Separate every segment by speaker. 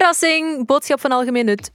Speaker 1: Verrassing, boodschap van algemeen nut.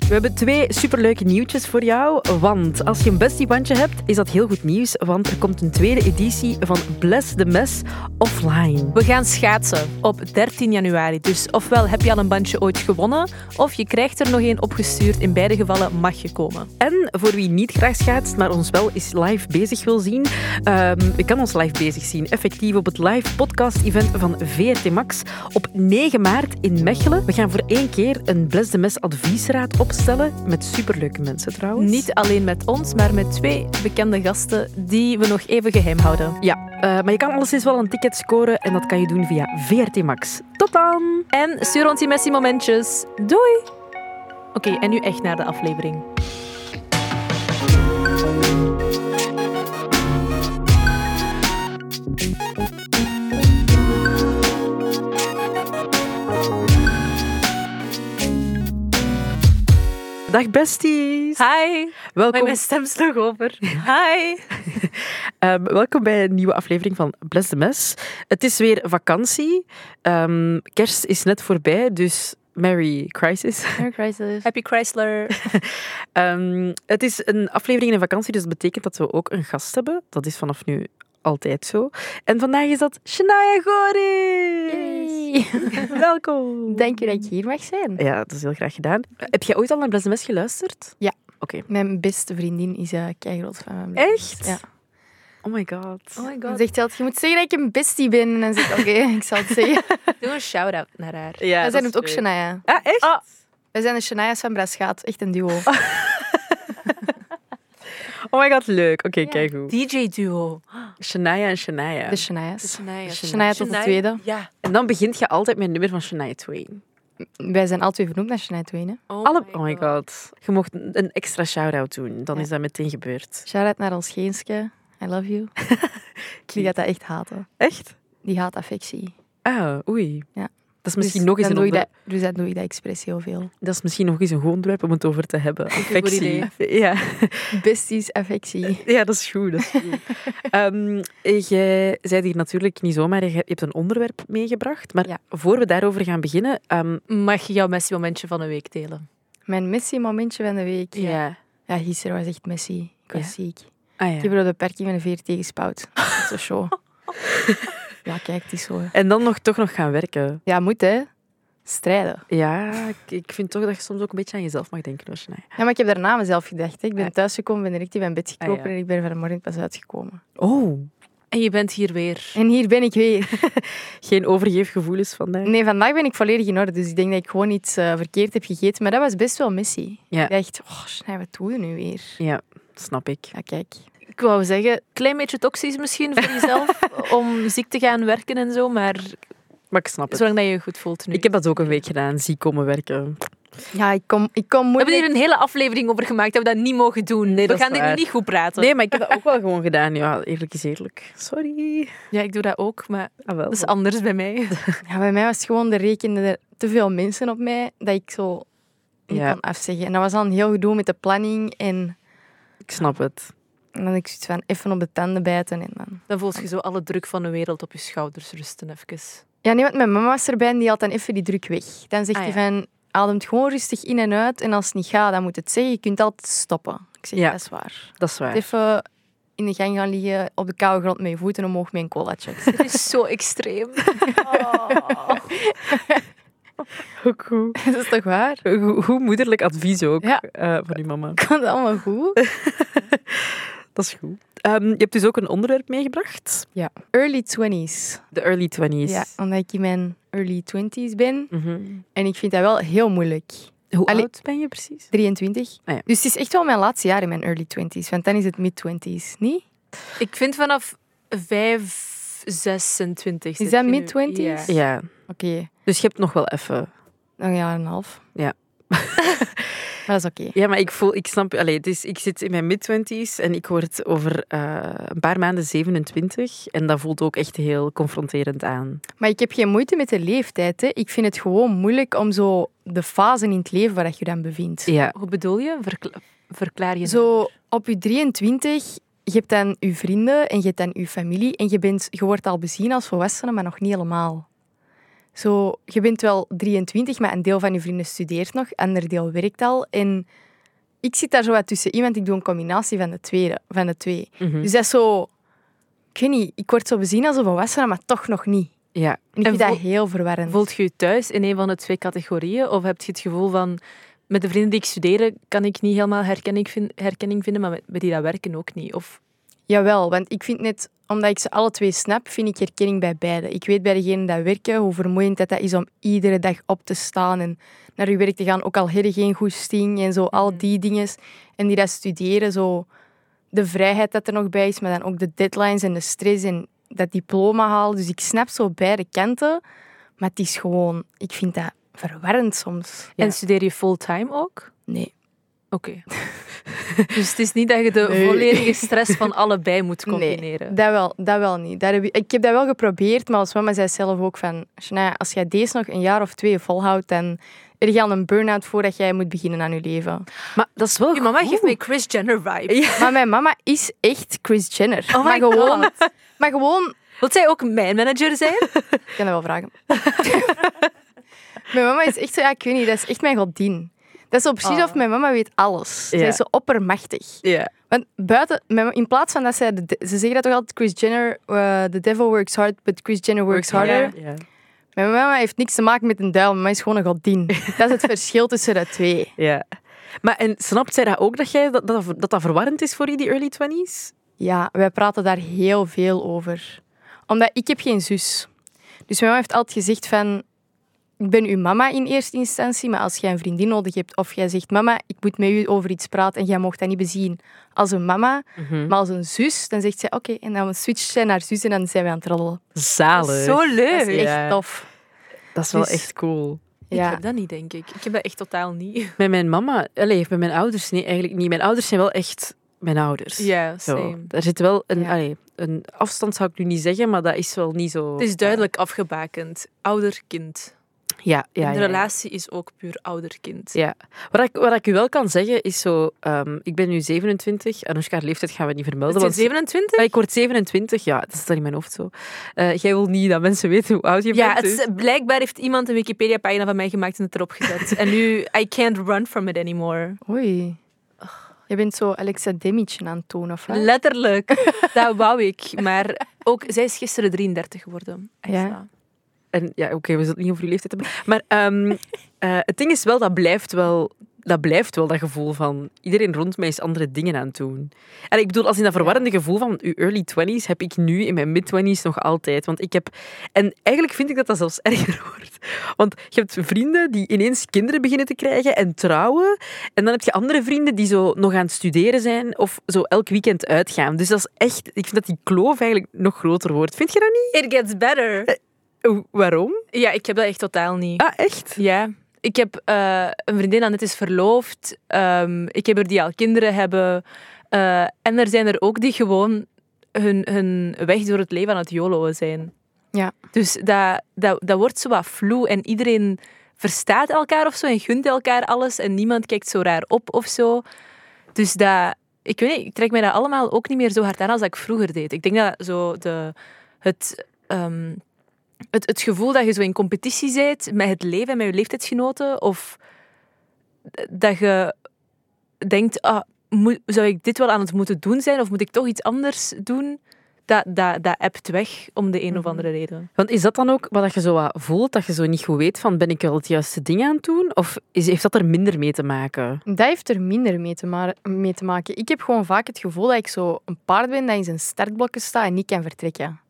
Speaker 2: We hebben twee superleuke nieuwtjes voor jou. Want als je een bestiebandje hebt, is dat heel goed nieuws. Want er komt een tweede editie van Bless the Mess offline.
Speaker 1: We gaan schaatsen op 13 januari. Dus ofwel heb je al een bandje ooit gewonnen, of je krijgt er nog één opgestuurd. In beide gevallen mag je komen.
Speaker 2: En voor wie niet graag schaatst, maar ons wel eens live bezig wil zien, ehm, je kan ons live bezig zien. Effectief op het live podcast-event van VRT Max op 9 maart in Mechelen. We gaan voor één keer een Bless the Mess adviesraad opstellen. Met superleuke mensen trouwens.
Speaker 1: Niet alleen met ons, maar met twee bekende gasten die we nog even geheim houden.
Speaker 2: Ja, eh, maar je kan alleszins wel een ticket scoren en dat kan je doen via VRT Max. Tot dan!
Speaker 1: En stuur ons die messi momentjes. Doei! Oké, en nu echt naar de aflevering.
Speaker 2: Dag besties!
Speaker 1: Hi!
Speaker 2: Welkom,
Speaker 1: Mijn stem sloeg over. Hi!
Speaker 2: ehm, welkom bij een nieuwe aflevering van Bless the Mess. Het is weer vakantie. Ehm, kerst is net voorbij, dus Merry Crisis.
Speaker 1: Happy Chrysler.
Speaker 2: Ehm, het is een aflevering in een vakantie, dus dat betekent dat we ook een gast hebben. Dat is vanaf nu altijd zo. En vandaag is dat Shania Goris! Welkom!
Speaker 3: Dank je dat je hier mag zijn.
Speaker 2: Ja, dat is heel graag gedaan. Heb jij ooit al naar Bless the Mess geluisterd?
Speaker 3: Ja.
Speaker 2: Oké.
Speaker 3: Mijn beste vriendin is uh, keigroot van mijn blog.
Speaker 2: Echt?
Speaker 3: Ja.
Speaker 2: Oh my god.
Speaker 1: my
Speaker 3: Ze zegt altijd, je moet zeggen dat ik een bestie ben. En dan zeg ik, oké, ik zal het zeggen.
Speaker 1: Doe een shout-out naar haar.
Speaker 2: Ja,
Speaker 3: Wij
Speaker 2: dat
Speaker 3: zijn
Speaker 2: is
Speaker 3: het ook
Speaker 2: leuk.
Speaker 3: Shania.
Speaker 2: Ah, echt?
Speaker 1: Ah.
Speaker 3: Wij zijn de Shania's van Braschaat. Echt een duo.
Speaker 2: Ah. Oh my god, leuk. Oké, kijk hoe.
Speaker 1: DJ-duo.
Speaker 2: Shania en Shania.
Speaker 3: De Shania's.
Speaker 1: Shania.
Speaker 3: Shania tot de tweede.
Speaker 1: Ja.
Speaker 2: En dan begint je altijd met een nummer van Shania Twain.
Speaker 3: Wij zijn alle twee vernoemd naar Shania Twain. hè.
Speaker 1: Oh
Speaker 2: Alle... Oh my god. Je mocht een extra shout-out doen. Dan
Speaker 3: Ja.
Speaker 2: is dat meteen gebeurd.
Speaker 3: Shout-out naar ons Geenske. I love you. Die gaat dat echt haten.
Speaker 2: Echt?
Speaker 3: Die haat affectie.
Speaker 2: Ah, oei.
Speaker 3: Ja.
Speaker 2: Dat is misschien
Speaker 3: Dus
Speaker 2: nog eens
Speaker 3: dan
Speaker 2: een
Speaker 3: doe ik
Speaker 2: onder...
Speaker 3: dat, Dus dan doe ik dat expres heel veel.
Speaker 2: dat is misschien nog eens een goed onderwerp om het over te hebben. Affectie.
Speaker 1: idee.
Speaker 2: Ja.
Speaker 3: Besties, affectie.
Speaker 2: ja, dat is goed. Dat is goed. Ehm, jij zei hier natuurlijk niet zomaar, je hebt een onderwerp meegebracht. Maar
Speaker 3: Ja.
Speaker 2: voor we daarover gaan beginnen... ehm,
Speaker 1: Mag je jouw messi momentje van de week delen?
Speaker 3: Mijn Messi-momentje van de week.
Speaker 2: ja.
Speaker 3: Ja, gisteren was echt Messi. Ik was
Speaker 2: Ja.
Speaker 3: ziek.
Speaker 2: Ah, ja.
Speaker 3: Ik heb er op de parking met een veer tegenspout. Dat is zo show. ja, kijk, het is zo. hè.
Speaker 2: En dan nog, toch nog gaan werken.
Speaker 3: Ja, moet hè. Strijden.
Speaker 2: Ja, ik, ik vind toch dat je soms ook een beetje aan jezelf mag denken. Hoor. Nee.
Speaker 3: Ja, maar ik heb daarna aan mezelf gedacht. hè. Ik
Speaker 2: Ja.
Speaker 3: ben thuisgekomen, ben direct in mijn bed gekropen
Speaker 2: Ah, ja.
Speaker 3: en ik ben vanmorgen pas uitgekomen.
Speaker 2: Oh,
Speaker 1: En je bent hier weer.
Speaker 3: En hier ben ik weer.
Speaker 2: geen overgeefgevoelens vandaag.
Speaker 3: Nee, vandaag ben ik volledig in orde, dus ik denk dat ik gewoon iets eh, verkeerd heb gegeten. Maar dat was best wel missie.
Speaker 2: Ja.
Speaker 3: Ik dacht, oh, snij, wat doe je nu weer?
Speaker 2: Ja, snap ik.
Speaker 3: Ja, kijk. Ik wou zeggen,
Speaker 1: Klein beetje toxisch misschien voor jezelf, om ziek te gaan werken en zo, maar
Speaker 2: Maar ik snap het.
Speaker 1: zolang dat je je goed voelt nu.
Speaker 2: Ik heb dat ook een week gedaan, ziek komen werken.
Speaker 3: ja, ik kom, ik kom
Speaker 1: We hebben
Speaker 3: moeilijk...
Speaker 1: hier een hele aflevering over gemaakt, dat we dat niet mogen doen.
Speaker 2: Nee,
Speaker 1: we
Speaker 2: dat is
Speaker 1: gaan dit nu
Speaker 2: waar.
Speaker 1: niet goed praten.
Speaker 2: Nee, maar ik heb dat ook wel gewoon gedaan. Ja, eerlijk is eerlijk. Sorry.
Speaker 1: Ja, ik doe dat ook, maar
Speaker 2: Ah, wel.
Speaker 1: dat is anders bij mij.
Speaker 3: Ja, bij mij was het gewoon, er rekenden er te veel mensen op mij, dat ik zo niet
Speaker 2: Ja.
Speaker 3: kon afzeggen. En dat was dan een heel gedoe met de planning en...
Speaker 2: Ik snap het.
Speaker 3: En dan had ik zoiets van even op de tanden bijten en dan...
Speaker 1: Dan voelt je zo alle druk van de wereld op je schouders rusten even.
Speaker 3: Ja, nee, want mijn mama was erbij en die haalt dan even die druk weg. Dan zegt
Speaker 1: Ah,
Speaker 3: hij
Speaker 1: ja.
Speaker 3: van, ademt gewoon rustig in en uit. En als het niet gaat, dan moet het zeggen. Je kunt altijd stoppen. Ik zeg,
Speaker 2: Ja.
Speaker 3: dat is waar.
Speaker 2: Dat is waar.
Speaker 3: Even in de gang gaan liggen, op de koude grond met je voeten omhoog met een colaatje. Ik zeg,
Speaker 1: Het is zo extreem.
Speaker 2: Ook goed.
Speaker 3: Dat is toch waar?
Speaker 2: Goed- goed moederlijk advies ook
Speaker 3: Ja.
Speaker 2: eh, van uw mama.
Speaker 3: Kan dat allemaal goed?
Speaker 2: Dat is goed. Ehm, je hebt dus ook een onderwerp meegebracht.
Speaker 3: Early 20s.
Speaker 2: De early 20s.
Speaker 3: Ja, omdat ik in mijn early 20s ben.
Speaker 2: Mhm.
Speaker 3: En ik vind dat wel heel moeilijk.
Speaker 2: Hoe
Speaker 3: Allee-
Speaker 2: oud ben je precies?
Speaker 3: 23.
Speaker 2: Ah, ja.
Speaker 3: Dus het is echt wel mijn laatste jaar in mijn early 20s. Want dan is het mid 20s, niet?
Speaker 1: Ik vind vanaf 5, 26.
Speaker 3: Is dat mid-twenties?
Speaker 1: Ja.
Speaker 2: Ja.
Speaker 3: Oké.
Speaker 2: Dus je hebt nog wel even
Speaker 3: Een jaar en een half.
Speaker 2: Ja.
Speaker 3: maar dat is oké.
Speaker 2: Ja, maar ik voel, ik snap, allez, het is, ik zit in mijn mid-twenties en ik word over eh, een paar maanden 27. En dat voelt ook echt heel confronterend aan.
Speaker 3: Maar ik heb geen moeite met de leeftijd. Hè. Ik vind het gewoon moeilijk om zo de fasen in het leven waar je dan bevindt.
Speaker 2: Ja,
Speaker 1: Hoe bedoel je? Verkla- verklaar je
Speaker 3: Zo op je 23, je hebt dan je vrienden en je hebt dan je familie. En je, bent, je wordt al bezien als volwassene, maar nog niet helemaal. Zo, je bent wel 23, maar een deel van je vrienden studeert nog, een ander deel werkt al. En ik zit daar zo wat tussen iemand, ik doe een combinatie van de, tweede, van de twee.
Speaker 1: Hm.
Speaker 2: Mhm.
Speaker 3: Dus dat is zo... Ik weet niet, ik word zo bezien als een volwassene, maar toch nog niet.
Speaker 2: ja.
Speaker 3: En
Speaker 1: En
Speaker 3: ik vind dat
Speaker 1: voel-
Speaker 3: heel verwarrend.
Speaker 1: Voelt je je thuis in een van de twee categorieën? Of heb je het gevoel van, met de vrienden die ik studeer, kan ik niet helemaal herkenning, vin- herkenning vinden, maar met, met die dat werken ook niet? Of
Speaker 3: Jawel, want ik vind net, omdat ik ze alle twee snap, vind ik herkenning bij beide. Ik weet bij degenen dat werken hoe vermoeiend dat, dat is om iedere dag op te staan en naar uw werk te gaan, ook al hadden geen goesting en zo, al die dingen. En die dat studeren, zo de vrijheid dat er nog bij is, maar dan ook de deadlines en de stress en dat diploma halen. Dus ik snap zo beide kanten, maar het is gewoon, ik vind dat verwarrend soms.
Speaker 2: Ja.
Speaker 1: En studeer je fulltime ook?
Speaker 3: Nee.
Speaker 1: Oké. dus het is niet dat je de
Speaker 3: Nee.
Speaker 1: volledige stress van allebei moet
Speaker 3: Nee.
Speaker 1: combineren.
Speaker 3: Dat wel, dat wel niet. Daar heb ik, ik heb dat wel geprobeerd, maar als mama zei zelf ook van... Shania, als jij deze nog een jaar of twee volhoudt, dan er je al een burn-out voordat jij moet beginnen aan je leven.
Speaker 2: Maar dat is wel
Speaker 1: Je mama
Speaker 2: goed.
Speaker 1: geeft mij Chris Jenner vibe.
Speaker 3: Maar mijn mama is echt Chris Jenner.
Speaker 1: Oh
Speaker 3: maar,
Speaker 1: my God.
Speaker 3: gewoon, maar gewoon...
Speaker 1: Wilt zij ook mijn manager zijn?
Speaker 3: Ik kan dat wel vragen. mijn mama is echt zo... Ja, ik weet niet, dat is echt mijn godin. Dat is zo precies
Speaker 1: Oh.
Speaker 3: of mijn mama weet alles. Ze
Speaker 2: Ja.
Speaker 3: is zo oppermachtig.
Speaker 2: Ja.
Speaker 3: Want buiten, mijn- in plaats van dat zij... de- ze zeggen dat toch altijd, Chris Jenner... eh, the devil works hard, but Chris Jenner works harder.
Speaker 1: Ja.
Speaker 2: Ja.
Speaker 3: Mijn mama heeft niks te maken met een duil, mijn mama is gewoon een godin. Dat is het verschil tussen de twee.
Speaker 2: ja. Maar en snapt zij dat ook, dat, jij, dat, dat, dat dat verwarrend is voor je, die early 20s?
Speaker 3: Ja, wij praten daar heel veel over. Omdat ik heb geen zus. Dus mijn mama heeft altijd gezegd van... Ik ben uw mama in eerste instantie, maar als jij een vriendin nodig hebt of jij zegt... Mama, ik moet met u over iets praten en jij mag dat niet bezien als een mama,
Speaker 1: Mhm.
Speaker 2: Hm.
Speaker 3: maar als een zus, dan zegt zij oké. en dan switcht zij naar zus en dan zijn wij aan het roddelen.
Speaker 2: Zalig.
Speaker 1: Zo leuk.
Speaker 3: Dat is
Speaker 2: Ja.
Speaker 3: echt tof.
Speaker 2: Dat is wel
Speaker 3: Dus-
Speaker 2: echt cool.
Speaker 1: Ik
Speaker 3: Ja.
Speaker 1: heb dat niet, denk ik. Ik heb dat echt totaal niet.
Speaker 2: Met mijn mama, allee, met mijn ouders, nee, eigenlijk niet. Mijn ouders zijn wel echt mijn ouders.
Speaker 1: Ja,
Speaker 2: Zo.
Speaker 1: same.
Speaker 2: Er zit wel een,
Speaker 3: Ja.
Speaker 2: allee, een afstand, zou ik nu niet zeggen, maar dat is wel niet zo.
Speaker 1: Het is duidelijk afgebakend. Ouder-kind.
Speaker 2: eh, Ja,
Speaker 1: En
Speaker 2: ja, ja,
Speaker 1: de
Speaker 2: ja.
Speaker 1: relatie is ook puur ouder-kind.
Speaker 2: Ja. Wat ik, wat ik u wel kan zeggen is zo, ehm, ik ben nu 27, Anushka, haar leeftijd gaan we niet
Speaker 1: Is
Speaker 2: vermelden.
Speaker 1: je
Speaker 2: Want,
Speaker 1: 27?
Speaker 2: Maar ik word 27, ja, dat is dan in mijn hoofd zo. Eh, jij wil niet dat mensen weten hoe oud je
Speaker 1: Ja,
Speaker 2: bent.
Speaker 1: het
Speaker 2: dus-
Speaker 1: is- blijkbaar heeft iemand een Wikipedia-pagina van mij gemaakt en het erop gezet. en nu, I can't run from it anymore.
Speaker 3: Oei. Je bent zo Alexa Demitje aan het tonen, of wat?
Speaker 1: Letterlijk. dat wou ik. Maar ook, zij is gisteren 33 geworden. Echt
Speaker 3: Ja.
Speaker 1: waar.
Speaker 2: En ja, oké, we zullen het niet over uw leeftijd hebben. Maar ehm, eh, het ding is wel, dat blijft wel, dat blijft wel dat gevoel van iedereen rond mij is andere dingen aan het doen. En ik bedoel, als in dat verwarrende gevoel van uw early 20s heb ik nu in mijn mid 20s nog altijd. Want ik heb, en eigenlijk vind ik dat dat zelfs erger wordt. Want je hebt vrienden die ineens kinderen beginnen te krijgen en trouwen. En dan heb je andere vrienden die zo nog aan het studeren zijn of zo elk weekend uitgaan. Dus dat is echt, ik vind dat die kloof eigenlijk nog groter wordt. Vind je dat niet?
Speaker 1: It gets
Speaker 3: Eh.
Speaker 1: better.
Speaker 2: Oeh, Waarom?
Speaker 1: Ja, ik heb dat echt totaal niet.
Speaker 2: Ah, echt?
Speaker 1: Ja. Ik heb eh, een vriendin aan het is verloofd. Ehm, ik heb er die al kinderen hebben. Eh, en er zijn er ook die gewoon hun, hun weg door het leven aan het joloen zijn.
Speaker 3: Ja.
Speaker 1: Dus dat, dat, dat wordt zo wat vloe. En iedereen verstaat elkaar of zo en gunt elkaar alles. En niemand kijkt zo raar op of zo. Dus dat... Ik weet niet, ik trek mij dat allemaal ook niet meer zo hard aan als dat ik vroeger deed. Ik denk dat zo de, het... ehm, het, het gevoel dat je zo in competitie bent met het leven en met je leeftijdsgenoten. Of dat je denkt, ah, moe- zou ik dit wel aan het moeten doen zijn? Of moet ik toch iets anders doen? Dat, dat, dat appt weg om de een of andere reden.
Speaker 2: Want is dat dan ook wat je zo wat voelt, dat je zo niet goed weet van ben ik wel het juiste ding aan het doen? Of is, heeft dat er minder mee te maken?
Speaker 3: Dat heeft er minder mee te, ma- mee te maken. Ik heb gewoon vaak het gevoel dat ik zo een paard ben dat in zijn startblokken staat en niet kan vertrekken.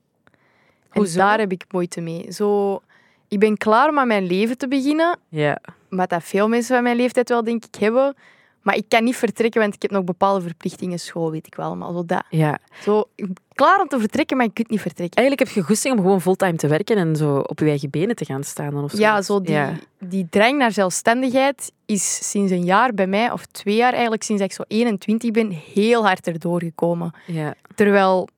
Speaker 1: Hoezo?
Speaker 3: En daar heb ik moeite mee. Zo, ik ben klaar om aan mijn leven te beginnen,
Speaker 2: Ja.
Speaker 3: wat dat veel mensen van mijn leeftijd wel denk ik hebben. Maar ik kan niet vertrekken, want ik heb nog bepaalde verplichtingen school, weet ik wel. Maar zo dat.
Speaker 2: ja.
Speaker 3: Zo, ik ben klaar om te vertrekken, maar je kunt niet vertrekken.
Speaker 2: Eigenlijk heb je goesting om gewoon fulltime te werken en zo op je eigen benen te gaan staan. Dan, of
Speaker 3: Ja,
Speaker 2: zoiets.
Speaker 3: zo die,
Speaker 2: Ja.
Speaker 3: die drang naar zelfstandigheid is sinds een jaar bij mij, of twee jaar eigenlijk, sinds dat ik zo 21 ben, heel hard erdoor gekomen.
Speaker 2: Ja.
Speaker 3: Terwijl,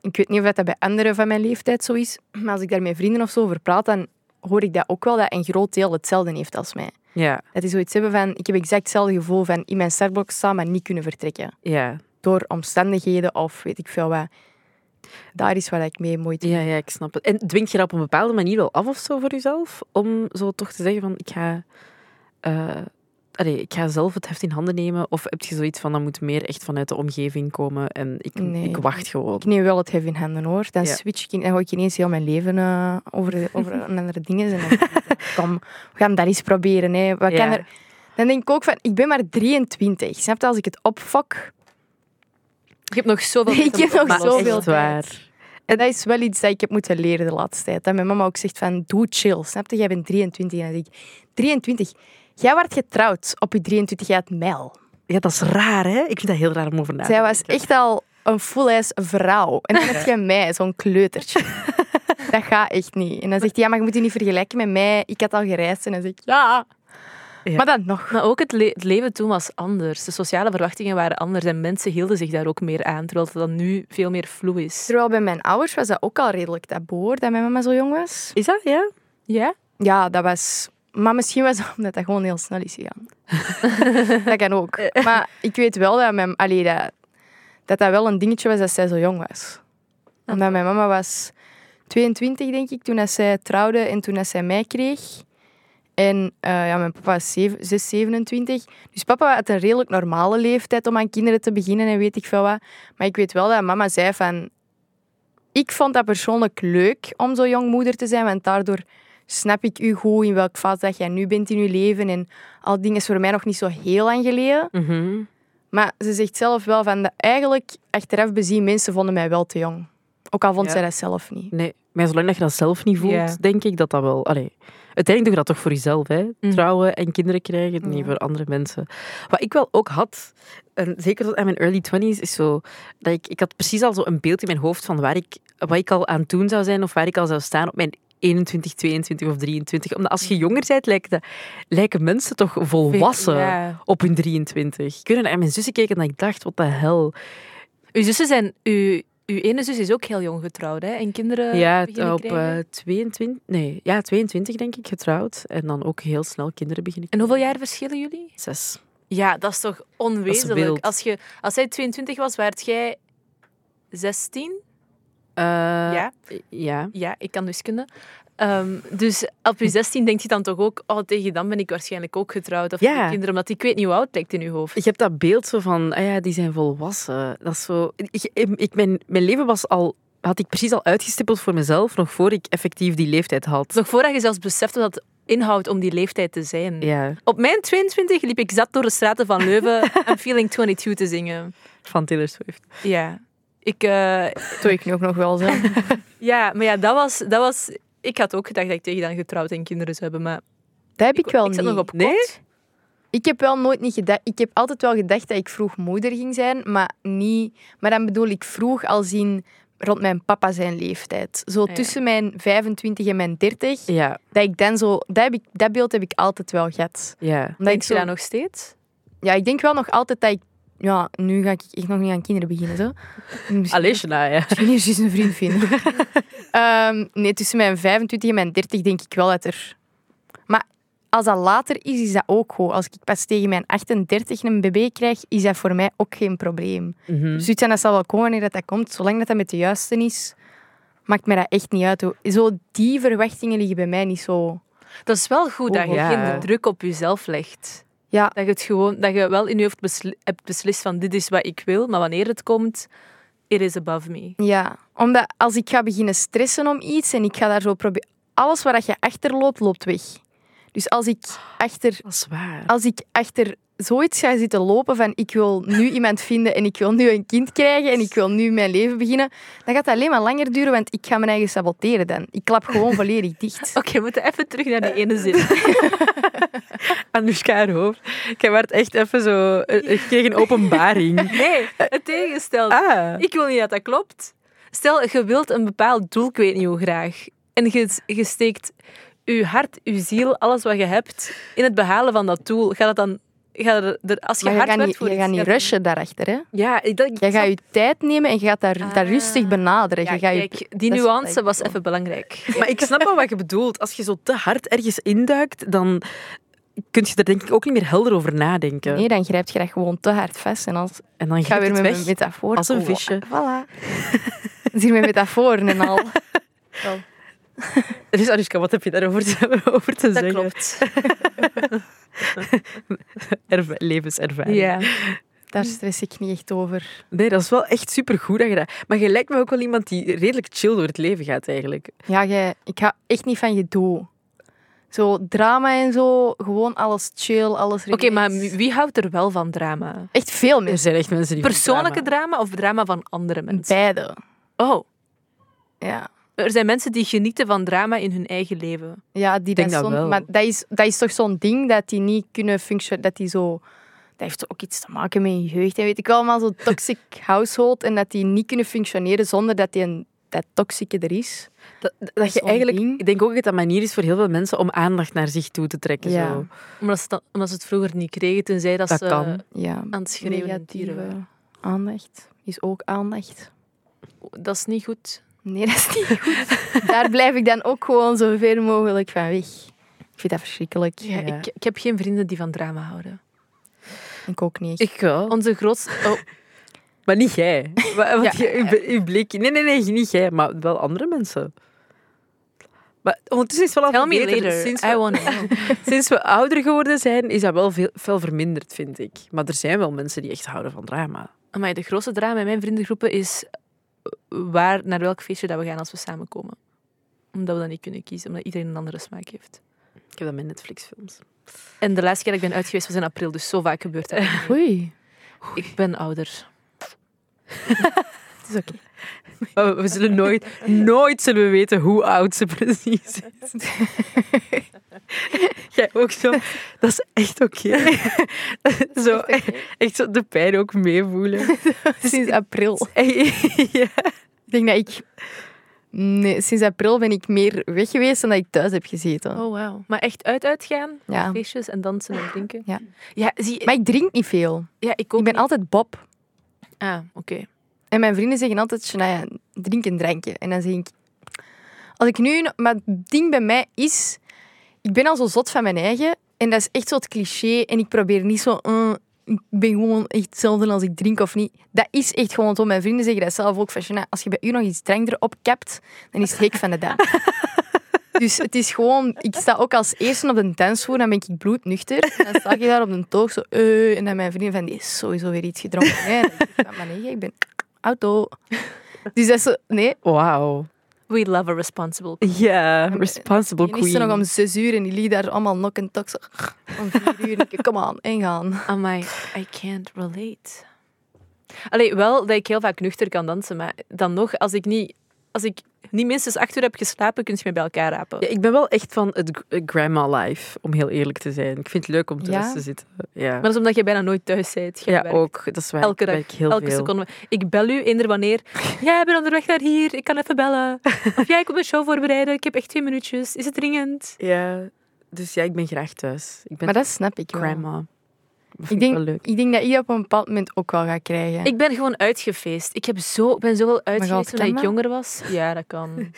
Speaker 3: ik weet niet of dat bij anderen van mijn leeftijd zo is, maar als ik daar met vrienden of zo over praat, dan hoor ik dat ook wel, dat een groot deel hetzelfde heeft als mij.
Speaker 2: Ja.
Speaker 3: Dat is zoiets hebben van, ik heb exact hetzelfde gevoel van in mijn startblok staan, maar niet kunnen vertrekken.
Speaker 2: Ja.
Speaker 3: Door omstandigheden of weet ik veel wat. Daar is waar ik mee moeite heb.
Speaker 2: Ja, ja, ik snap het. En dwingt je dat op een bepaalde manier wel af of zo voor jezelf? Om zo toch te zeggen van, ik ga, eh, allee, ik ga zelf het heft in handen nemen? Of heb je zoiets van, dat moet meer echt vanuit de omgeving komen en ik,
Speaker 3: Nee.
Speaker 2: ik wacht gewoon?
Speaker 3: Ik neem wel het hef in handen hoor. Dan
Speaker 2: Ja.
Speaker 3: switch ik in, dan gooi ik ineens heel mijn leven eh, over, over een andere dingen. En dan, kom, we gaan dat eens proberen. Hè. Wat kan
Speaker 2: Ja.
Speaker 3: er... Dan denk ik ook van, ik ben maar 23. Snap je, als ik het opfok,
Speaker 1: Je hebt nog zoveel
Speaker 3: Ik
Speaker 1: tijd om
Speaker 3: heb
Speaker 1: te
Speaker 3: nog
Speaker 1: oplossen.
Speaker 3: zoveel
Speaker 2: echt
Speaker 3: tijd.
Speaker 2: waar.
Speaker 3: En dat is wel iets dat ik heb moeten leren de laatste tijd. Dat mijn mama ook zegt van, doe chill. Snap je? Jij bent 23. En dan denk ik, 23? Jij werd getrouwd op je 23 jaar mijl.
Speaker 2: Ja, dat is raar, hè? Ik vind dat heel raar om over na te
Speaker 3: Zij was
Speaker 2: denken.
Speaker 3: echt al een full-ass vrouw. En dan heb je mij, zo'n kleutertje. Dat gaat echt niet. En dan zegt hij, ja, maar je moet je niet vergelijken met mij. Ik had al gereisd. En dan zeg ik, ja.
Speaker 2: Ja.
Speaker 3: Maar dan nog.
Speaker 1: Maar ook het, le- het leven toen was anders. De sociale verwachtingen waren anders en mensen hielden zich daar ook meer aan, terwijl het dan nu veel meer vloe is.
Speaker 3: Terwijl bij mijn ouders was dat ook al redelijk taboe, hoor, dat mijn mama zo jong was.
Speaker 2: Is dat, ja?
Speaker 1: Ja?
Speaker 3: Ja, dat was... Maar misschien was dat omdat dat gewoon heel snel is gegaan. dat kan ook. Maar ik weet wel dat mijn... Allee, dat, dat dat wel een dingetje was dat zij zo jong was. Omdat mijn mama was 22, denk ik, toen dat zij trouwde en toen dat zij mij kreeg. En eh, ja, mijn papa was 7, 6, 27. Dus papa had een redelijk normale leeftijd om aan kinderen te beginnen en weet ik veel wat. Maar ik weet wel dat mama zei van... Ik vond dat persoonlijk leuk om zo jong moeder te zijn, want daardoor snap ik u goed in welk fase dat jij nu bent in je leven. En al die dingen is voor mij nog niet zo heel lang geleden.
Speaker 2: Mhm.
Speaker 3: Maar ze zegt zelf wel van, dat eigenlijk, achteraf bezien, mensen vonden mij wel te jong. Ook al vond
Speaker 2: Ja.
Speaker 3: zij dat zelf niet.
Speaker 2: Nee, maar zolang dat je dat zelf niet voelt,
Speaker 1: Ja.
Speaker 2: denk ik dat dat wel... Allee, uiteindelijk doe je dat toch voor jezelf, hè?
Speaker 1: Mm.
Speaker 2: Trouwen en kinderen krijgen, niet
Speaker 3: Ja.
Speaker 2: voor andere mensen. Wat ik wel ook had, en zeker tot aan mijn early twenties, is zo... Dat ik, ik had precies al zo een beeld in mijn hoofd van waar ik, wat ik al aan toen zou zijn of waar ik al zou staan op mijn 21, 22 of 23. Omdat
Speaker 1: Mm.
Speaker 2: als je jonger bent, lijken, dat- lijken mensen toch volwassen
Speaker 1: Ja.
Speaker 2: op hun 23. Kunnen naar mijn zussen keken en ik dacht, wat de hel.
Speaker 1: Uw zussen zijn... Uw, uw ene zus is ook heel jong getrouwd, hè? En kinderen
Speaker 2: Ja,
Speaker 1: beginnen
Speaker 2: op
Speaker 1: krijgen.
Speaker 2: eh 22, nee, ja, 22 denk ik, getrouwd. En dan ook heel snel kinderen beginnen.
Speaker 1: En hoeveel jaar verschillen jullie?
Speaker 2: Zes.
Speaker 1: Ja, dat is toch onwezenlijk.
Speaker 2: wild.
Speaker 1: als, je, als zij 22 was, waart jij 16?
Speaker 2: Eh, ja.
Speaker 1: Ja. Ja, ik kan wiskunde. Ehm, dus op je 16 denk je dan toch ook, oh, tegen dan ben ik waarschijnlijk ook getrouwd. Of
Speaker 2: Ja.
Speaker 1: heb ik kinderen, omdat ik weet niet hoe oud het lijkt in je hoofd.
Speaker 2: Ik heb dat beeld zo van, ah ja, die zijn volwassen. Dat is zo... Ik, ik, mijn, mijn leven was al, had ik precies al uitgestippeld voor mezelf, nog voor ik effectief die leeftijd had.
Speaker 1: Nog voordat je zelfs beseft wat het inhoudt om die leeftijd te zijn.
Speaker 2: Ja,
Speaker 1: Op mijn 22 liep ik zat door de straten van Leuven en Feeling 22 te zingen.
Speaker 2: van Taylor Swift.
Speaker 1: Ja. Ik, eh,
Speaker 3: Dat doe ik nu ook nog wel zo.
Speaker 1: ja, maar ja, dat was, dat was... Ik had ook gedacht dat ik tegen dan getrouwd en kinderen zou hebben, maar
Speaker 3: Dat heb ik wel
Speaker 1: ik zat
Speaker 3: niet.
Speaker 1: nog op kot.
Speaker 2: Nee?
Speaker 3: Ik heb wel nooit niet gedacht... Ik heb altijd wel gedacht dat ik vroeg moeder ging zijn, maar niet... Maar dan bedoel ik vroeg als in rond mijn papa zijn leeftijd. Zo
Speaker 1: ja.
Speaker 3: tussen mijn 25 en mijn 30.
Speaker 2: Ja,
Speaker 3: Dat ik dan zo... Dat, heb ik, dat beeld heb ik altijd wel gehad.
Speaker 2: ja.
Speaker 3: Omdat
Speaker 1: Denk
Speaker 3: ik
Speaker 1: je
Speaker 3: zo-
Speaker 1: dat nog steeds?
Speaker 3: Ja, ik denk wel nog altijd dat ik... Ja, nu ga ik echt nog niet aan kinderen beginnen, zo. Misschien-
Speaker 2: Aleshna, ja.
Speaker 3: Misschien eerst eens een vriend vinden. Ehm, nee, tussen mijn 25 en mijn 30 denk ik wel dat er... Maar als dat later is, is dat ook goed. Als ik pas tegen mijn 38 een bb krijg, is dat voor mij ook geen probleem.
Speaker 2: Mhm.
Speaker 3: Dus iets aan dat zal wel komen wanneer dat, dat komt. Zolang dat, dat met de juiste is, maakt mij dat echt niet uit. hoor. Zo, die verwachtingen liggen bij mij niet zo...
Speaker 1: Dat is wel goed dat je
Speaker 2: Oh, ja.
Speaker 1: geen druk op jezelf legt.
Speaker 3: Ja,
Speaker 1: Dat je, het gewoon, dat je wel in je hoofd besli- hebt beslist van dit is wat ik wil, maar wanneer het komt, it is above me.
Speaker 3: Ja, omdat als ik ga beginnen stressen om iets en ik ga daar zo proberen... Alles waar dat je achter loopt, loopt weg. Dus als ik achter,
Speaker 2: Dat is waar.
Speaker 3: als ik achter zoiets ga zitten lopen van ik wil nu iemand vinden en ik wil nu een kind krijgen en ik wil nu mijn leven beginnen, dan gaat dat alleen maar langer duren, want ik ga mijn eigen saboteren dan. Ik klap gewoon volledig dicht.
Speaker 1: Oké, we moeten even terug naar die ene zin.
Speaker 2: Anoushka haar hoofd. Ik werd echt even zo... eh, Ik kreeg een openbaring.
Speaker 1: Nee, het tegenstel.
Speaker 2: Ah.
Speaker 1: Ik wil niet dat dat klopt. Stel, je wilt een bepaald doel, ik weet niet hoe graag. En je, je steekt je hart, je ziel, alles wat je hebt in het behalen van dat doel. Gaat dat dan... Gaat er, er- als je
Speaker 3: Maar je
Speaker 1: hard
Speaker 3: gaat
Speaker 1: werkt
Speaker 3: niet,
Speaker 1: voor
Speaker 3: je
Speaker 1: iets,
Speaker 3: gaat niet
Speaker 1: gaat er-
Speaker 3: rushen daarachter, hè.
Speaker 2: Ja, ik, dat,
Speaker 3: Jij gaat je tijd nemen en je gaat daar, daar
Speaker 1: Ah.
Speaker 3: rustig benaderen.
Speaker 1: Ja,
Speaker 3: je gaat je-
Speaker 1: kijk, die
Speaker 3: dat is wat
Speaker 1: nuance
Speaker 3: ik
Speaker 1: was
Speaker 3: bedoel.
Speaker 1: even belangrijk.
Speaker 2: Maar ik snap wel wat je bedoelt. Als je zo te hard ergens induikt, dan kun je er denk ik ook niet meer helder over nadenken.
Speaker 3: Nee, dan grijp je dat gewoon te hard vast en als,
Speaker 2: En dan
Speaker 3: Ik ga
Speaker 2: gaat
Speaker 3: weer
Speaker 2: het
Speaker 3: met
Speaker 2: weg.
Speaker 3: mijn metafoor.
Speaker 2: Als een
Speaker 3: komen.
Speaker 2: visje.
Speaker 3: Voilà. Dat is hier met metaforen en al. Wel,
Speaker 2: Dus Arushka, wat heb je daarover te, over te
Speaker 1: dat
Speaker 2: zeggen?
Speaker 1: klopt.
Speaker 2: Erva- levenservaring.
Speaker 1: Ja.
Speaker 3: daar stress ik niet echt over.
Speaker 2: Nee, dat is wel echt supergoed dat je dat... Maar je lijkt me ook wel iemand die redelijk chill door het leven gaat, eigenlijk.
Speaker 3: Ja, jij, ik ga echt niet van gedoe. Zo drama en zo, gewoon alles chill, alles
Speaker 1: Oké, maar
Speaker 3: relaxed.
Speaker 1: wie houdt er wel van drama?
Speaker 3: Echt veel
Speaker 2: Er
Speaker 3: mensen.
Speaker 2: zijn echt mensen die...
Speaker 1: Persoonlijke drama of drama van andere mensen?
Speaker 3: Beide.
Speaker 1: Oh,
Speaker 3: Ja.
Speaker 1: er zijn mensen die genieten van drama in hun eigen leven.
Speaker 3: Ja, die
Speaker 2: denk dat
Speaker 3: dat soms-
Speaker 2: wel.
Speaker 3: Maar dat is, dat is toch zo'n ding dat die niet kunnen functioneren. Dat die zo. Dat heeft ook iets te maken met je jeugd. En weet ik allemaal, zo'n toxic household. En dat die niet kunnen functioneren zonder dat die een, dat toxieke er is.
Speaker 2: Dat, dat je
Speaker 3: Zo'n
Speaker 2: eigenlijk...
Speaker 3: ding.
Speaker 2: Ik denk ook dat dat een manier is voor heel veel mensen om aandacht naar zich toe te trekken.
Speaker 3: Ja.
Speaker 2: Zo.
Speaker 1: Omdat ze, het- omdat ze het vroeger niet kregen, tenzij dat,
Speaker 2: Dat
Speaker 1: ze
Speaker 2: kan.
Speaker 1: eh,
Speaker 3: Ja,
Speaker 1: aan het schreeuwen en tieren waren.
Speaker 3: negatieve aandacht is ook aandacht.
Speaker 1: Dat is niet goed.
Speaker 3: Nee, dat is niet goed. Daar blijf ik dan ook gewoon zo ver mogelijk van weg. Ik vind dat verschrikkelijk.
Speaker 1: Ja,
Speaker 2: Ja.
Speaker 1: Ik, ik heb geen vrienden die van drama houden.
Speaker 3: Ik ook niet. echt.
Speaker 2: Ik wel.
Speaker 1: Onze grootste... Oh,
Speaker 2: Maar niet jij. Wa- Want
Speaker 3: Ja.
Speaker 2: je, uw be- uw blik... Nee, nee, nee, niet jij, maar wel andere mensen. Maar ondertussen is het wel al
Speaker 1: tell me
Speaker 2: verbeterd.
Speaker 1: later.
Speaker 2: Sinds
Speaker 1: I
Speaker 2: we,
Speaker 1: want to know.
Speaker 2: sinds we ouder geworden zijn, is dat wel veel, veel verminderd, vind ik. Maar er zijn wel mensen die echt houden van drama.
Speaker 1: Amai, de grootste drama in mijn vriendengroepen is eh, waar, naar welk feestje dat we gaan als we samenkomen. Omdat we dat niet kunnen kiezen, omdat iedereen een andere smaak heeft.
Speaker 2: Ik heb dat met Netflix-films.
Speaker 1: En de laatste keer dat ik ben uit geweest was in april, dus zo vaak gebeurt dat.
Speaker 3: Oei,
Speaker 1: Ik ben ouder.
Speaker 3: het is oké.
Speaker 2: Maar we zullen nooit, nooit zullen we weten hoe oud ze precies is. Jij ook zo. Dat is echt oké. Zo, echt zo de pijn ook meevoelen.
Speaker 3: Sinds april.
Speaker 2: ja.
Speaker 3: Ik denk dat ik... Nee, sinds april ben ik meer weg geweest dan dat ik thuis heb gezeten.
Speaker 1: Oh, wow. Maar echt uit uitgaan,
Speaker 3: Ja.
Speaker 1: feestjes en dansen en drinken.
Speaker 3: Ja.
Speaker 1: Ja, zie,
Speaker 3: Maar ik drink niet veel.
Speaker 1: ja ik ook
Speaker 3: Ik ben
Speaker 1: niet.
Speaker 3: altijd Bob.
Speaker 1: Ah, oké.
Speaker 3: En mijn vrienden zeggen altijd, Shania, drink een drankje. En dan zeg ik... Als ik nu... Maar het ding bij mij is... Ik ben al zo zot van mijn eigen. En dat is echt zo het cliché. En ik probeer niet zo... eh, ik ben gewoon echt hetzelfde als ik drink of niet. Dat is echt gewoon zo. Mijn vrienden zeggen dat zelf ook. Van, Shania, als je bij u nog iets drank erop kapt, dan is het hek van de dag. Dus het is gewoon, ik sta ook als eerste op de dansvloer, dan ben ik bloednuchter. En dan sta ik daar op de toog zo, eh, en dan mijn vriendin van, die is sowieso weer iets gedronken. Hè. En dan denk ik, maar nee, ik ben auto. Dus dat is zo, nee.
Speaker 2: Wauw.
Speaker 1: We love a responsible.
Speaker 2: Ja, responsible
Speaker 3: En is er
Speaker 2: queen.
Speaker 3: nog om zes uur en die liet daar allemaal nok en tok zo, om vier uur. Ik, Kom aan, ingaan.
Speaker 1: Amai, I can't relate. Allee, wel dat ik heel vaak nuchter kan dansen, maar dan nog, als ik niet, als ik niet minstens acht uur heb geslapen, kun je me bij elkaar rapen.
Speaker 2: Ja, ik ben wel echt van het gr- grandma life, om heel eerlijk te zijn. Ik vind het leuk om thuis
Speaker 3: Ja?
Speaker 2: te zitten. Ja,
Speaker 1: Maar dat is omdat je bijna nooit thuis bent. Je
Speaker 2: ja
Speaker 1: werkt
Speaker 2: ook. Dat is waar.
Speaker 1: Elke
Speaker 2: ik
Speaker 1: dag,
Speaker 2: werk heel
Speaker 1: elke
Speaker 2: veel.
Speaker 1: seconde. Ik bel u eender wanneer. Ja, ik ben onderweg naar hier, ik kan even bellen. Of ja, ik moet mijn show voorbereiden, ik heb echt twee minuutjes. Is het dringend?
Speaker 2: Ja, dus ja, ik ben graag thuis. Ik ben
Speaker 3: Maar dat snap ik wel.
Speaker 2: grandma. Dat vind
Speaker 3: Ik
Speaker 2: ik
Speaker 3: denk,
Speaker 2: wel leuk.
Speaker 3: ik denk dat je op een bepaald moment ook wel gaat krijgen.
Speaker 1: Ik ben gewoon uitgefeest. Ik heb zo, ik ben zoveel
Speaker 3: als
Speaker 1: uitgeweest toen
Speaker 3: kan
Speaker 1: ik
Speaker 3: dat?
Speaker 1: jonger was. Ja, dat kan.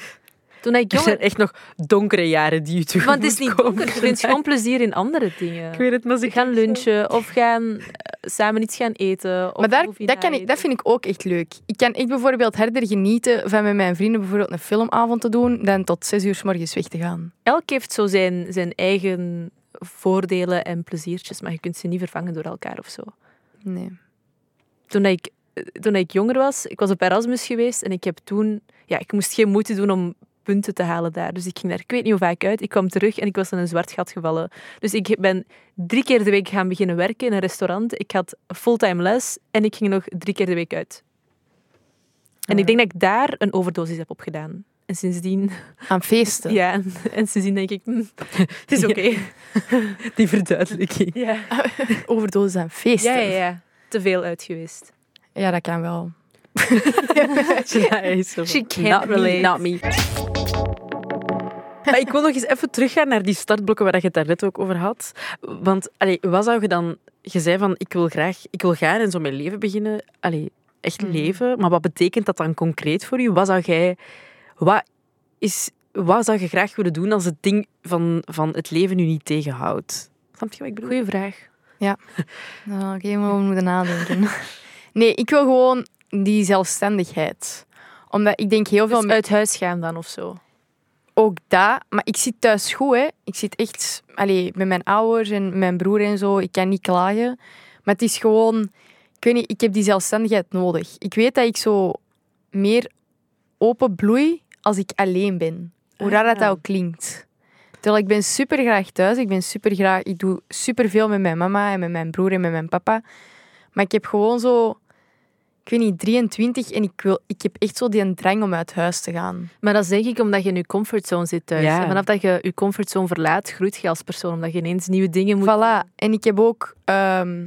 Speaker 1: Toen ik
Speaker 2: Er zijn
Speaker 1: jonger...
Speaker 2: echt nog donkere jaren die je tegemoet
Speaker 1: Want het is niet
Speaker 2: komen.
Speaker 1: donker, je vindt gewoon plezier in andere dingen.
Speaker 2: Ik weet het, maar ze
Speaker 1: We gaan lunchen of gaan eh, samen iets gaan eten. Of
Speaker 3: Maar daar,
Speaker 1: koffie
Speaker 3: dat, kan ik,
Speaker 1: naeten.
Speaker 3: dat vind ik ook echt leuk. Ik kan echt bijvoorbeeld harder genieten van met mijn vrienden bijvoorbeeld een filmavond te doen dan tot zes uur 's morgens weg te gaan.
Speaker 1: Elk heeft zo zijn, zijn eigen voordelen en pleziertjes, maar je kunt ze niet vervangen door elkaar of zo.
Speaker 3: Nee.
Speaker 1: Toen ik, eh, toen ik jonger was, ik was op Erasmus geweest en ik heb toen... Ja, ik moest geen moeite doen om punten te halen daar. Dus ik ging daar, ik weet niet hoe vaak uit, ik kwam terug en ik was in een zwart gat gevallen. Dus ik ben drie keer de week gaan beginnen werken in een restaurant. Ik had fulltime les en ik ging nog drie keer de week uit. En ik denk dat ik daar een overdosis heb opgedaan. En sindsdien
Speaker 3: Aan feesten.
Speaker 1: Ja, en, en sindsdien denk ik, "Mm, het is
Speaker 2: Ja.
Speaker 1: oké.
Speaker 2: Die verduidelijking.
Speaker 1: Ja.
Speaker 3: Overdosis aan feesten.
Speaker 1: Ja, ja, ja. Te veel uit geweest.
Speaker 3: Ja, dat kan wel.
Speaker 2: Ja, hij is zo van,
Speaker 1: She can't
Speaker 2: not me,
Speaker 1: relate.
Speaker 2: not me. Maar ik wil nog eens even teruggaan naar die startblokken waar je het daarnet ook over had. Want allee, wat zou je dan... Je zei van, ik wil graag... Ik wil gaan en zo mijn leven beginnen. Allee, echt leven. Maar wat betekent dat dan concreet voor je? Wat zou jij... Wat, is, wat zou je graag willen doen als het ding van, van het leven nu niet tegenhoudt? Snap je wat ik bedoel?
Speaker 1: Goeie vraag.
Speaker 3: Nou, Oké, maar we moeten nadenken. Nee, ik wil gewoon die zelfstandigheid. Omdat ik denk heel veel...
Speaker 1: Dus
Speaker 3: me-
Speaker 1: uit huis gaan dan of zo.
Speaker 3: ook dat. Maar ik zit thuis goed, hè. Ik zit echt allee, met mijn ouders en mijn broer en zo. Ik kan niet klagen. Maar het is gewoon... Ik weet niet, ik heb die zelfstandigheid nodig. Ik weet dat ik zo meer open bloei als ik alleen ben. Hoe raar dat,
Speaker 2: Ah.
Speaker 3: dat ook klinkt. Terwijl ik ben super graag thuis. Ik ben super graag... Ik doe super veel met mijn mama en met mijn broer en met mijn papa. Maar ik heb gewoon zo... Ik weet niet, 23 en ik, wil, ik heb echt zo die drang om uit huis te gaan.
Speaker 1: Maar dat zeg ik omdat je in je comfortzone zit thuis.
Speaker 2: Ja.
Speaker 1: En vanaf dat je je comfortzone verlaat, groeit je als persoon. Omdat je ineens nieuwe dingen moet...
Speaker 3: Voilà. En ik heb ook... ehm,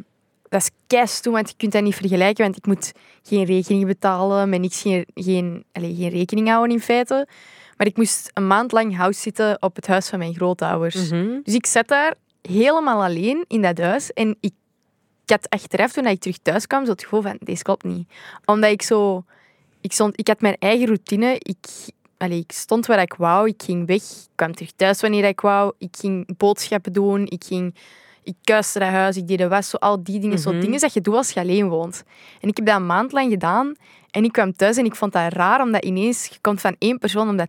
Speaker 3: dat is keist toe, want je kunt dat niet vergelijken. Want ik moet geen rekening betalen, met niks geen, geen, allee, geen rekening houden in feite. Maar ik moest een maand lang house zitten op het huis van mijn grootouders.
Speaker 2: Mhm.
Speaker 3: Dus ik zat daar helemaal alleen in dat huis. En ik, ik had achteraf, toen ik terug thuis kwam, zo het gevoel van, deze klopt niet. Omdat ik zo... Ik, stond, ik had mijn eigen routine. Ik, allee, ik stond waar ik wou. Ik ging weg. Ik kwam terug thuis wanneer ik wou. Ik ging boodschappen doen. Ik ging... Ik kuiste naar huis. Ik deed de was. Zo al die dingen.
Speaker 2: Mhm.
Speaker 3: Zo dingen dat je doet als je alleen woont. En ik heb dat een maand lang gedaan. En ik kwam thuis en ik vond dat raar. Omdat ineens... Je komt van één persoon om dat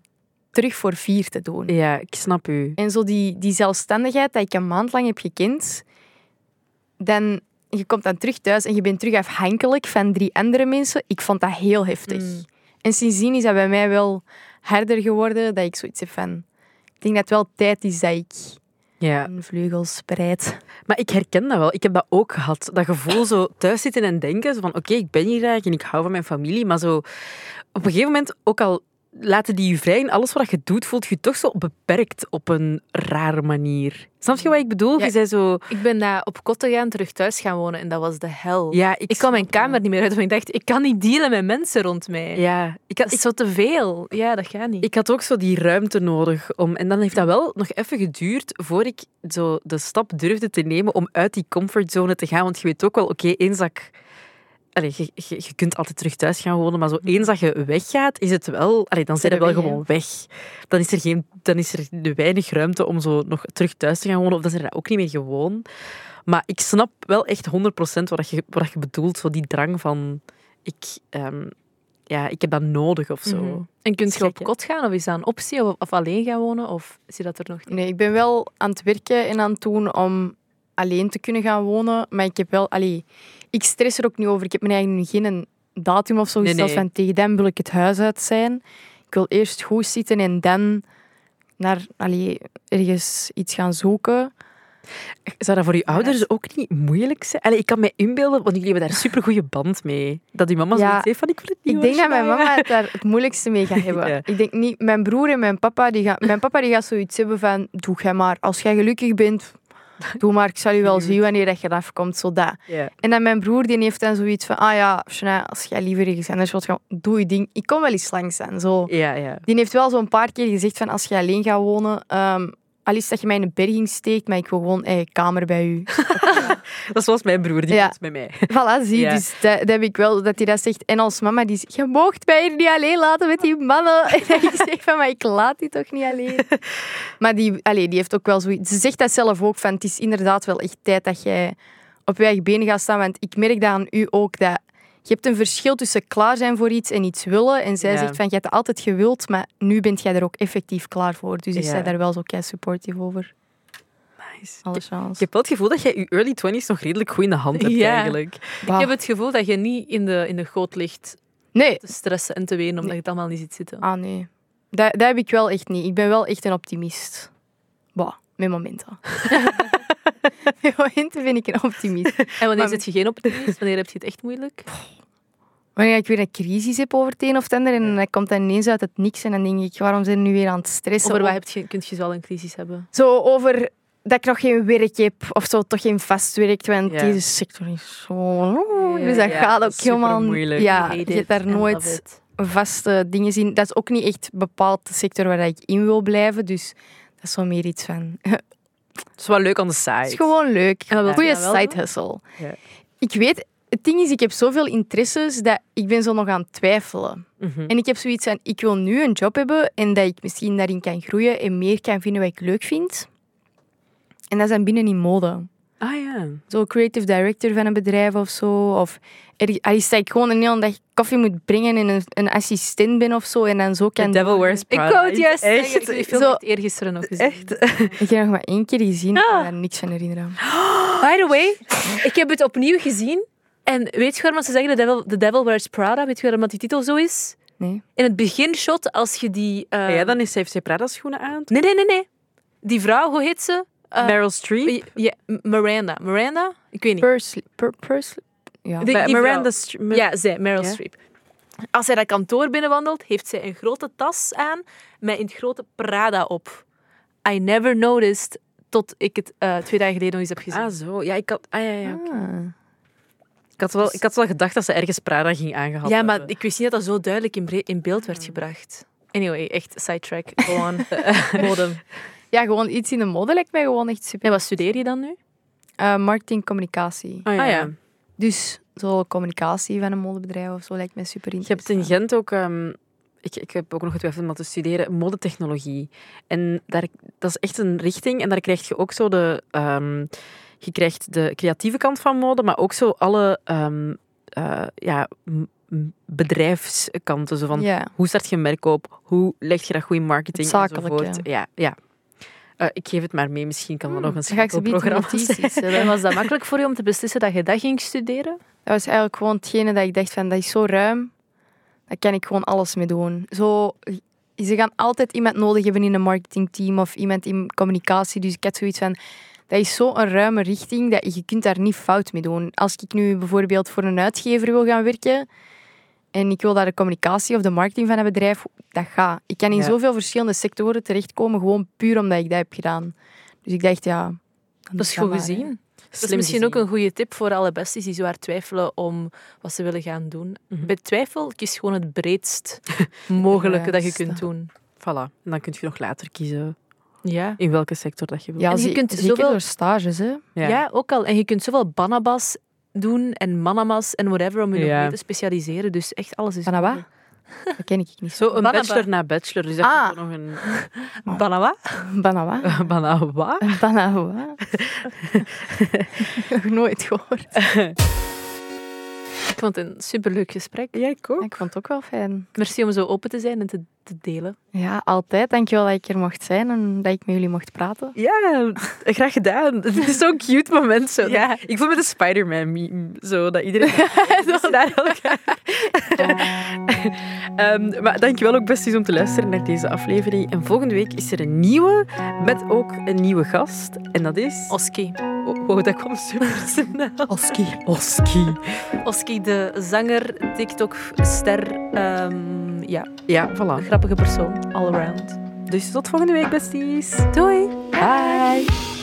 Speaker 3: terug voor vier te doen.
Speaker 2: Ja, ik snap u.
Speaker 3: En zo die, die zelfstandigheid dat ik een maand lang heb gekend, dan, je komt dan terug thuis en je bent terug afhankelijk van drie andere mensen. Ik vond dat heel heftig.
Speaker 1: Mm.
Speaker 3: En sindsdien is dat bij mij wel harder geworden, dat ik zoiets heb van... Ik denk dat het wel tijd is dat ik
Speaker 2: Ja.
Speaker 3: mijn vleugels spreid.
Speaker 2: Maar ik herken dat wel. Ik heb dat ook gehad. Dat gevoel zo thuis zitten en denken zo van oké, ik ben hier graag en ik hou van mijn familie. Maar zo op een gegeven moment, ook al laten die je vrij in alles wat je doet, voelt je toch zo beperkt op een rare manier. Snap je wat ik bedoel?
Speaker 1: Ja.
Speaker 2: Je zei zo...
Speaker 1: Ik ben na op kotten gaan terug thuis gaan wonen en dat was de hel.
Speaker 2: Ja, ik,
Speaker 1: Ik kwam mijn kamer niet meer uit, want ik dacht, ik kan niet dealen met mensen rond mij.
Speaker 2: Ja, ik
Speaker 1: Dat
Speaker 2: had,
Speaker 1: is
Speaker 2: ik,
Speaker 1: zo te veel. Ja, dat gaat niet.
Speaker 2: ik had ook zo die ruimte nodig. Om, en dan heeft dat wel nog even geduurd voor ik zo de stap durfde te nemen om uit die comfortzone te gaan. Want je weet ook wel, oké, eens dat ik... Allee, je, je, je kunt altijd terug thuis gaan wonen, maar zo eens dat je weggaat, is het wel... Allee, dan zijn
Speaker 3: Ben
Speaker 2: we wel
Speaker 3: je weg, hè?
Speaker 2: gewoon weg. Dan is, er geen, dan is er weinig ruimte om zo nog terug thuis te gaan wonen. Of dan zijn we dat ook niet meer gewoon. Maar ik snap wel echt 100% wat je, wat je bedoelt. Zo die drang van... Ik, ehm, ja, ik heb dat nodig of zo.
Speaker 1: Mhm. En kun je
Speaker 2: Schrik,
Speaker 1: op
Speaker 2: hè?
Speaker 1: kot gaan? Of is dat een optie? Of, of alleen gaan wonen? Of zie je dat er nog niet?
Speaker 3: Nee, ik ben wel aan het werken en aan het doen om alleen te kunnen gaan wonen. Maar ik heb wel... Allee, ik stress er ook niet over. Ik heb me eigenlijk geen datum of zo
Speaker 2: Nee,
Speaker 3: gesteld
Speaker 2: nee.
Speaker 3: van tegen dan wil ik het huis uit zijn. Ik wil eerst goed zitten en dan naar allee, ergens iets gaan zoeken.
Speaker 2: Zou dat voor je ouders ook niet moeilijk zijn? Allee, ik kan me inbeelden, want jullie hebben daar super goede band mee. Dat die mama
Speaker 3: Ja.
Speaker 2: zoiets heeft van, ik wil het niet
Speaker 3: Ik denk
Speaker 2: hoor,
Speaker 3: dat mijn
Speaker 2: Shania.
Speaker 3: mama het daar het moeilijkste mee gaat hebben.
Speaker 2: Ja.
Speaker 3: Ik denk niet... Mijn broer en mijn papa, die gaan, mijn papa die gaat zoiets hebben van... Doe jij maar. Als jij gelukkig bent, doe maar. Ik zal je wel
Speaker 2: Cute.
Speaker 3: zien wanneer dat je eraf komt. Zo dat.
Speaker 2: Ja.
Speaker 3: En dan mijn broer, die heeft dan zoiets van... Ah ja, Shania, als jij liever ergens anders wilt gaan, doe je ding. Ik kom wel eens langs zijn, zo.
Speaker 2: Ja, ja.
Speaker 3: Die heeft wel zo'n paar keer gezegd van... Als je alleen gaat wonen... ehm al is dat je mij in een berging steekt, maar ik wil gewoon eigen kamer bij u.
Speaker 2: Dat is zoals mijn broer, die
Speaker 3: Ja.
Speaker 2: komt bij mij.
Speaker 3: voilà, zie.
Speaker 2: Ja.
Speaker 3: Dus dat, dat heb ik wel, dat hij dat zegt. En als mama, die zegt... Je moogt mij hier niet alleen laten met die mannen. En ik zeg van... Maar ik laat die toch niet alleen? Maar die, allee, die heeft ook wel zoiets... Ze zegt dat zelf ook van... Het is inderdaad wel echt tijd dat jij op je eigen benen gaat staan. Want ik merk dat aan u ook, dat je hebt een verschil tussen klaar zijn voor iets en iets willen. En zij
Speaker 2: Ja.
Speaker 3: zegt van, je hebt het altijd gewild, maar nu bent jij er ook effectief klaar voor. Dus is
Speaker 2: Ja.
Speaker 3: zij daar wel zo kei supportive over.
Speaker 2: Nice.
Speaker 3: Alle
Speaker 2: Ik
Speaker 3: chance.
Speaker 2: heb wel het gevoel dat jij je early 20s nog redelijk goed in de hand hebt,
Speaker 1: Ja.
Speaker 2: eigenlijk.
Speaker 3: Ah.
Speaker 1: Ik heb het gevoel dat je niet in de, in de goot ligt
Speaker 3: Nee.
Speaker 1: te stressen en te wenen, omdat je het allemaal niet ziet zitten.
Speaker 3: Ah, nee. Dat, dat heb ik wel echt niet. Ik ben wel echt een optimist. Bah, met momenten. met momenten vind ik een optimist.
Speaker 1: En wanneer
Speaker 3: Maar-
Speaker 1: zit je geen optimist? Wanneer heb je het echt moeilijk?
Speaker 3: Wanneer ik weer een crisis heb over het een of het ander en dan komt dat ineens uit het niks en dan denk ik, waarom zijn we nu weer aan het stressen?
Speaker 1: Over wat
Speaker 3: Of-
Speaker 1: heb je, kun je wel een crisis hebben?
Speaker 3: Zo over dat ik nog geen werk heb of zo, toch geen vast werk. Want
Speaker 2: Ja.
Speaker 3: deze sector is zo.
Speaker 1: Ja,
Speaker 3: Dus dat
Speaker 2: ja,
Speaker 3: gaat
Speaker 2: dat
Speaker 3: ook
Speaker 2: is
Speaker 3: helemaal.
Speaker 2: supermoeilijk.
Speaker 3: Ja,
Speaker 1: I hate
Speaker 3: je hebt
Speaker 1: it
Speaker 3: daar
Speaker 1: and love
Speaker 3: nooit
Speaker 1: it.
Speaker 3: vaste dingen zien. Dat is ook niet echt bepaald de sector waar ik in wil blijven. Dus dat is wel meer iets van. Het
Speaker 2: Het is wel leuk aan de site.
Speaker 3: is gewoon leuk.
Speaker 1: En wat wil je
Speaker 3: Goeie
Speaker 1: dan wel
Speaker 3: side
Speaker 1: doen?
Speaker 3: hustle.
Speaker 2: Ja.
Speaker 3: Ik weet, het ding is, ik heb zoveel interesses dat ik ben zo nog aan het twijfelen.
Speaker 2: Mhm.
Speaker 3: En ik heb zoiets van, ik wil nu een job hebben en dat ik misschien daarin kan groeien en meer kan vinden wat ik leuk vind. En dat is dan binnen in mode.
Speaker 2: Ah ja.
Speaker 3: Zo creative director van een bedrijf of zo. Of er, als ik gewoon een hele dag koffie moet brengen en een, een assistent ben of zo. En dan zo
Speaker 2: The
Speaker 3: kan...
Speaker 2: Devil Wears
Speaker 1: Ik
Speaker 2: Prada.
Speaker 1: wou het juist
Speaker 2: Echt?
Speaker 1: zeggen. Ik heb die film
Speaker 3: Zo-
Speaker 1: echt eergisteren nog gezien.
Speaker 2: Echt?
Speaker 3: Ik heb nog maar één keer gezien. Ik
Speaker 1: Ah.
Speaker 3: kan daar niks van herinneren.
Speaker 2: Oh,
Speaker 1: By the way, ik heb het opnieuw gezien. En weet je waarom ze zeggen The Devil, The Devil Wears Prada? Weet je waarom dat die titel zo is?
Speaker 3: Nee.
Speaker 1: In het beginshot, als je die... eh,
Speaker 2: Ah, Ja, dan is ze heeft ze Prada schoenen aan.
Speaker 1: Nee, nee, nee, nee. Die vrouw, hoe heet ze? Eh,
Speaker 2: Meryl Streep.
Speaker 1: Ja, Miranda. Miranda? Ik weet niet.
Speaker 3: Pursley. Pur, Pursley? Ja.
Speaker 1: Die-
Speaker 2: Ma-
Speaker 1: die
Speaker 2: Miranda
Speaker 1: vrouw.
Speaker 2: Streep. Ma-
Speaker 1: Ja, zij, Meryl
Speaker 2: Ja.
Speaker 1: Streep. Als zij dat kantoor binnenwandelt, heeft zij een grote tas aan met in het grote Prada op. I never noticed tot ik het eh, twee dagen geleden nog eens heb gezien.
Speaker 2: Ah, zo. Ja, ik had, ah, ja, ja.
Speaker 3: Ah.
Speaker 2: Ik, had wel, ik had wel gedacht dat ze ergens Prada ging aangehad
Speaker 1: ja, maar
Speaker 2: hebben.
Speaker 1: ik wist niet dat dat zo duidelijk in, bre- in beeld werd gebracht. Anyway, echt sidetrack. Gewoon modem.
Speaker 3: Ja, gewoon iets in de mode lijkt mij gewoon echt super.
Speaker 1: Nee, wat studeer je dan nu?
Speaker 3: Eh, marketing, communicatie.
Speaker 2: Ah, ja.
Speaker 1: Ah, ja.
Speaker 3: Dus zo communicatie van een modebedrijf of zo lijkt mij super
Speaker 2: Je hebt in
Speaker 3: interessant.
Speaker 2: Gent ook... ehm, ik, ik heb ook nog getwijfeld om dat te studeren. Modetechnologie. En daar, dat is echt een richting. En daar krijg je ook zo de... ehm, je krijgt de creatieve kant van mode, maar ook zo alle ehm, eh, ja, m- m- bedrijfskanten. Zo van,
Speaker 3: Ja.
Speaker 2: Hoe start je een merk op? Hoe leg je dat goed in marketing?
Speaker 3: Het zakelijke.
Speaker 2: enzovoort. Ja, ja. Eh, ik geef het maar mee. Misschien kan er nog een
Speaker 3: Hmm, Dan ga ik ze bieden
Speaker 2: schakelprogramma zijn.
Speaker 3: notities.
Speaker 1: En
Speaker 3: hebben.
Speaker 1: was dat makkelijk voor je om te beslissen dat je dat ging studeren?
Speaker 3: Dat was eigenlijk gewoon hetgene dat ik dacht van, dat is zo ruim. Daar kan ik gewoon alles mee doen. Zo, ze gaan altijd iemand nodig hebben in een marketingteam of iemand in communicatie. Dus ik had zoiets van, dat is zo'n ruime richting dat je- je kunt daar niet fout mee doen. Als ik nu bijvoorbeeld voor een uitgever wil gaan werken en ik wil daar de communicatie of de marketing van een bedrijf, dat gaat. Ik kan in
Speaker 2: Ja.
Speaker 3: zoveel verschillende sectoren terechtkomen gewoon puur omdat ik dat heb gedaan. Dus ik dacht, ja... dan doe
Speaker 1: Dat is
Speaker 3: ik
Speaker 1: goed
Speaker 3: maar, hè.
Speaker 1: gezien. Dat is
Speaker 2: Slim
Speaker 1: misschien ook
Speaker 2: gezien.
Speaker 1: een goede tip voor alle besties die zwaar twijfelen om wat ze willen gaan doen.
Speaker 2: Mhm.
Speaker 1: Bij twijfel kies gewoon het breedst mogelijke dat je kunt
Speaker 3: Juist.
Speaker 1: doen.
Speaker 2: Voilà. En dan kun je nog later kiezen
Speaker 1: Ja.
Speaker 2: in welke sector dat je wil.
Speaker 3: Ja,
Speaker 1: En je
Speaker 3: ze-
Speaker 1: kunt
Speaker 3: zeker
Speaker 1: zoveel-
Speaker 3: door stages, hè.
Speaker 1: Ja. ook al. En je kunt zoveel banabas doen en manamas en whatever om je nog
Speaker 2: Ja.
Speaker 1: meer te specialiseren. Dus echt alles is...
Speaker 3: Van wat?
Speaker 1: mogelijk.
Speaker 3: Dat ken ik niet.
Speaker 2: Zo een
Speaker 1: Banaba.
Speaker 2: bachelor na bachelor. Dus dat
Speaker 3: Ah.
Speaker 2: je zo nog een...
Speaker 1: Banawa?
Speaker 3: Banawa.
Speaker 2: Banawa?
Speaker 3: Banawa. Nog nooit gehoord.
Speaker 1: Ik vond het een superleuk gesprek.
Speaker 2: Ja, ik ook.
Speaker 3: Ik vond het ook wel fijn.
Speaker 1: Merci om zo open te zijn en te, te delen.
Speaker 3: Ja, altijd. Dankjewel dat ik er mocht zijn en dat ik met jullie mocht praten.
Speaker 2: Ja, graag gedaan. Het is zo'n cute moment. Zo.
Speaker 1: Ja.
Speaker 2: Ik voel me de Spider-Man meme. Zo, dat iedereen... zo naar elkaar. Ehm, maar dankjewel ook besties om te luisteren naar deze aflevering. En volgende week is er een nieuwe, met ook een nieuwe gast. En dat is...
Speaker 1: Oski.
Speaker 2: Oh, wow, dat kwam super snel.
Speaker 3: Oski.
Speaker 2: Oski.
Speaker 1: Oski, de zanger, TikTok-ster. ehm, ja,
Speaker 2: Ja,
Speaker 1: een
Speaker 2: voilà.
Speaker 1: grappige persoon. All around.
Speaker 2: Dus tot volgende week, besties.
Speaker 1: Doei!
Speaker 2: Bye.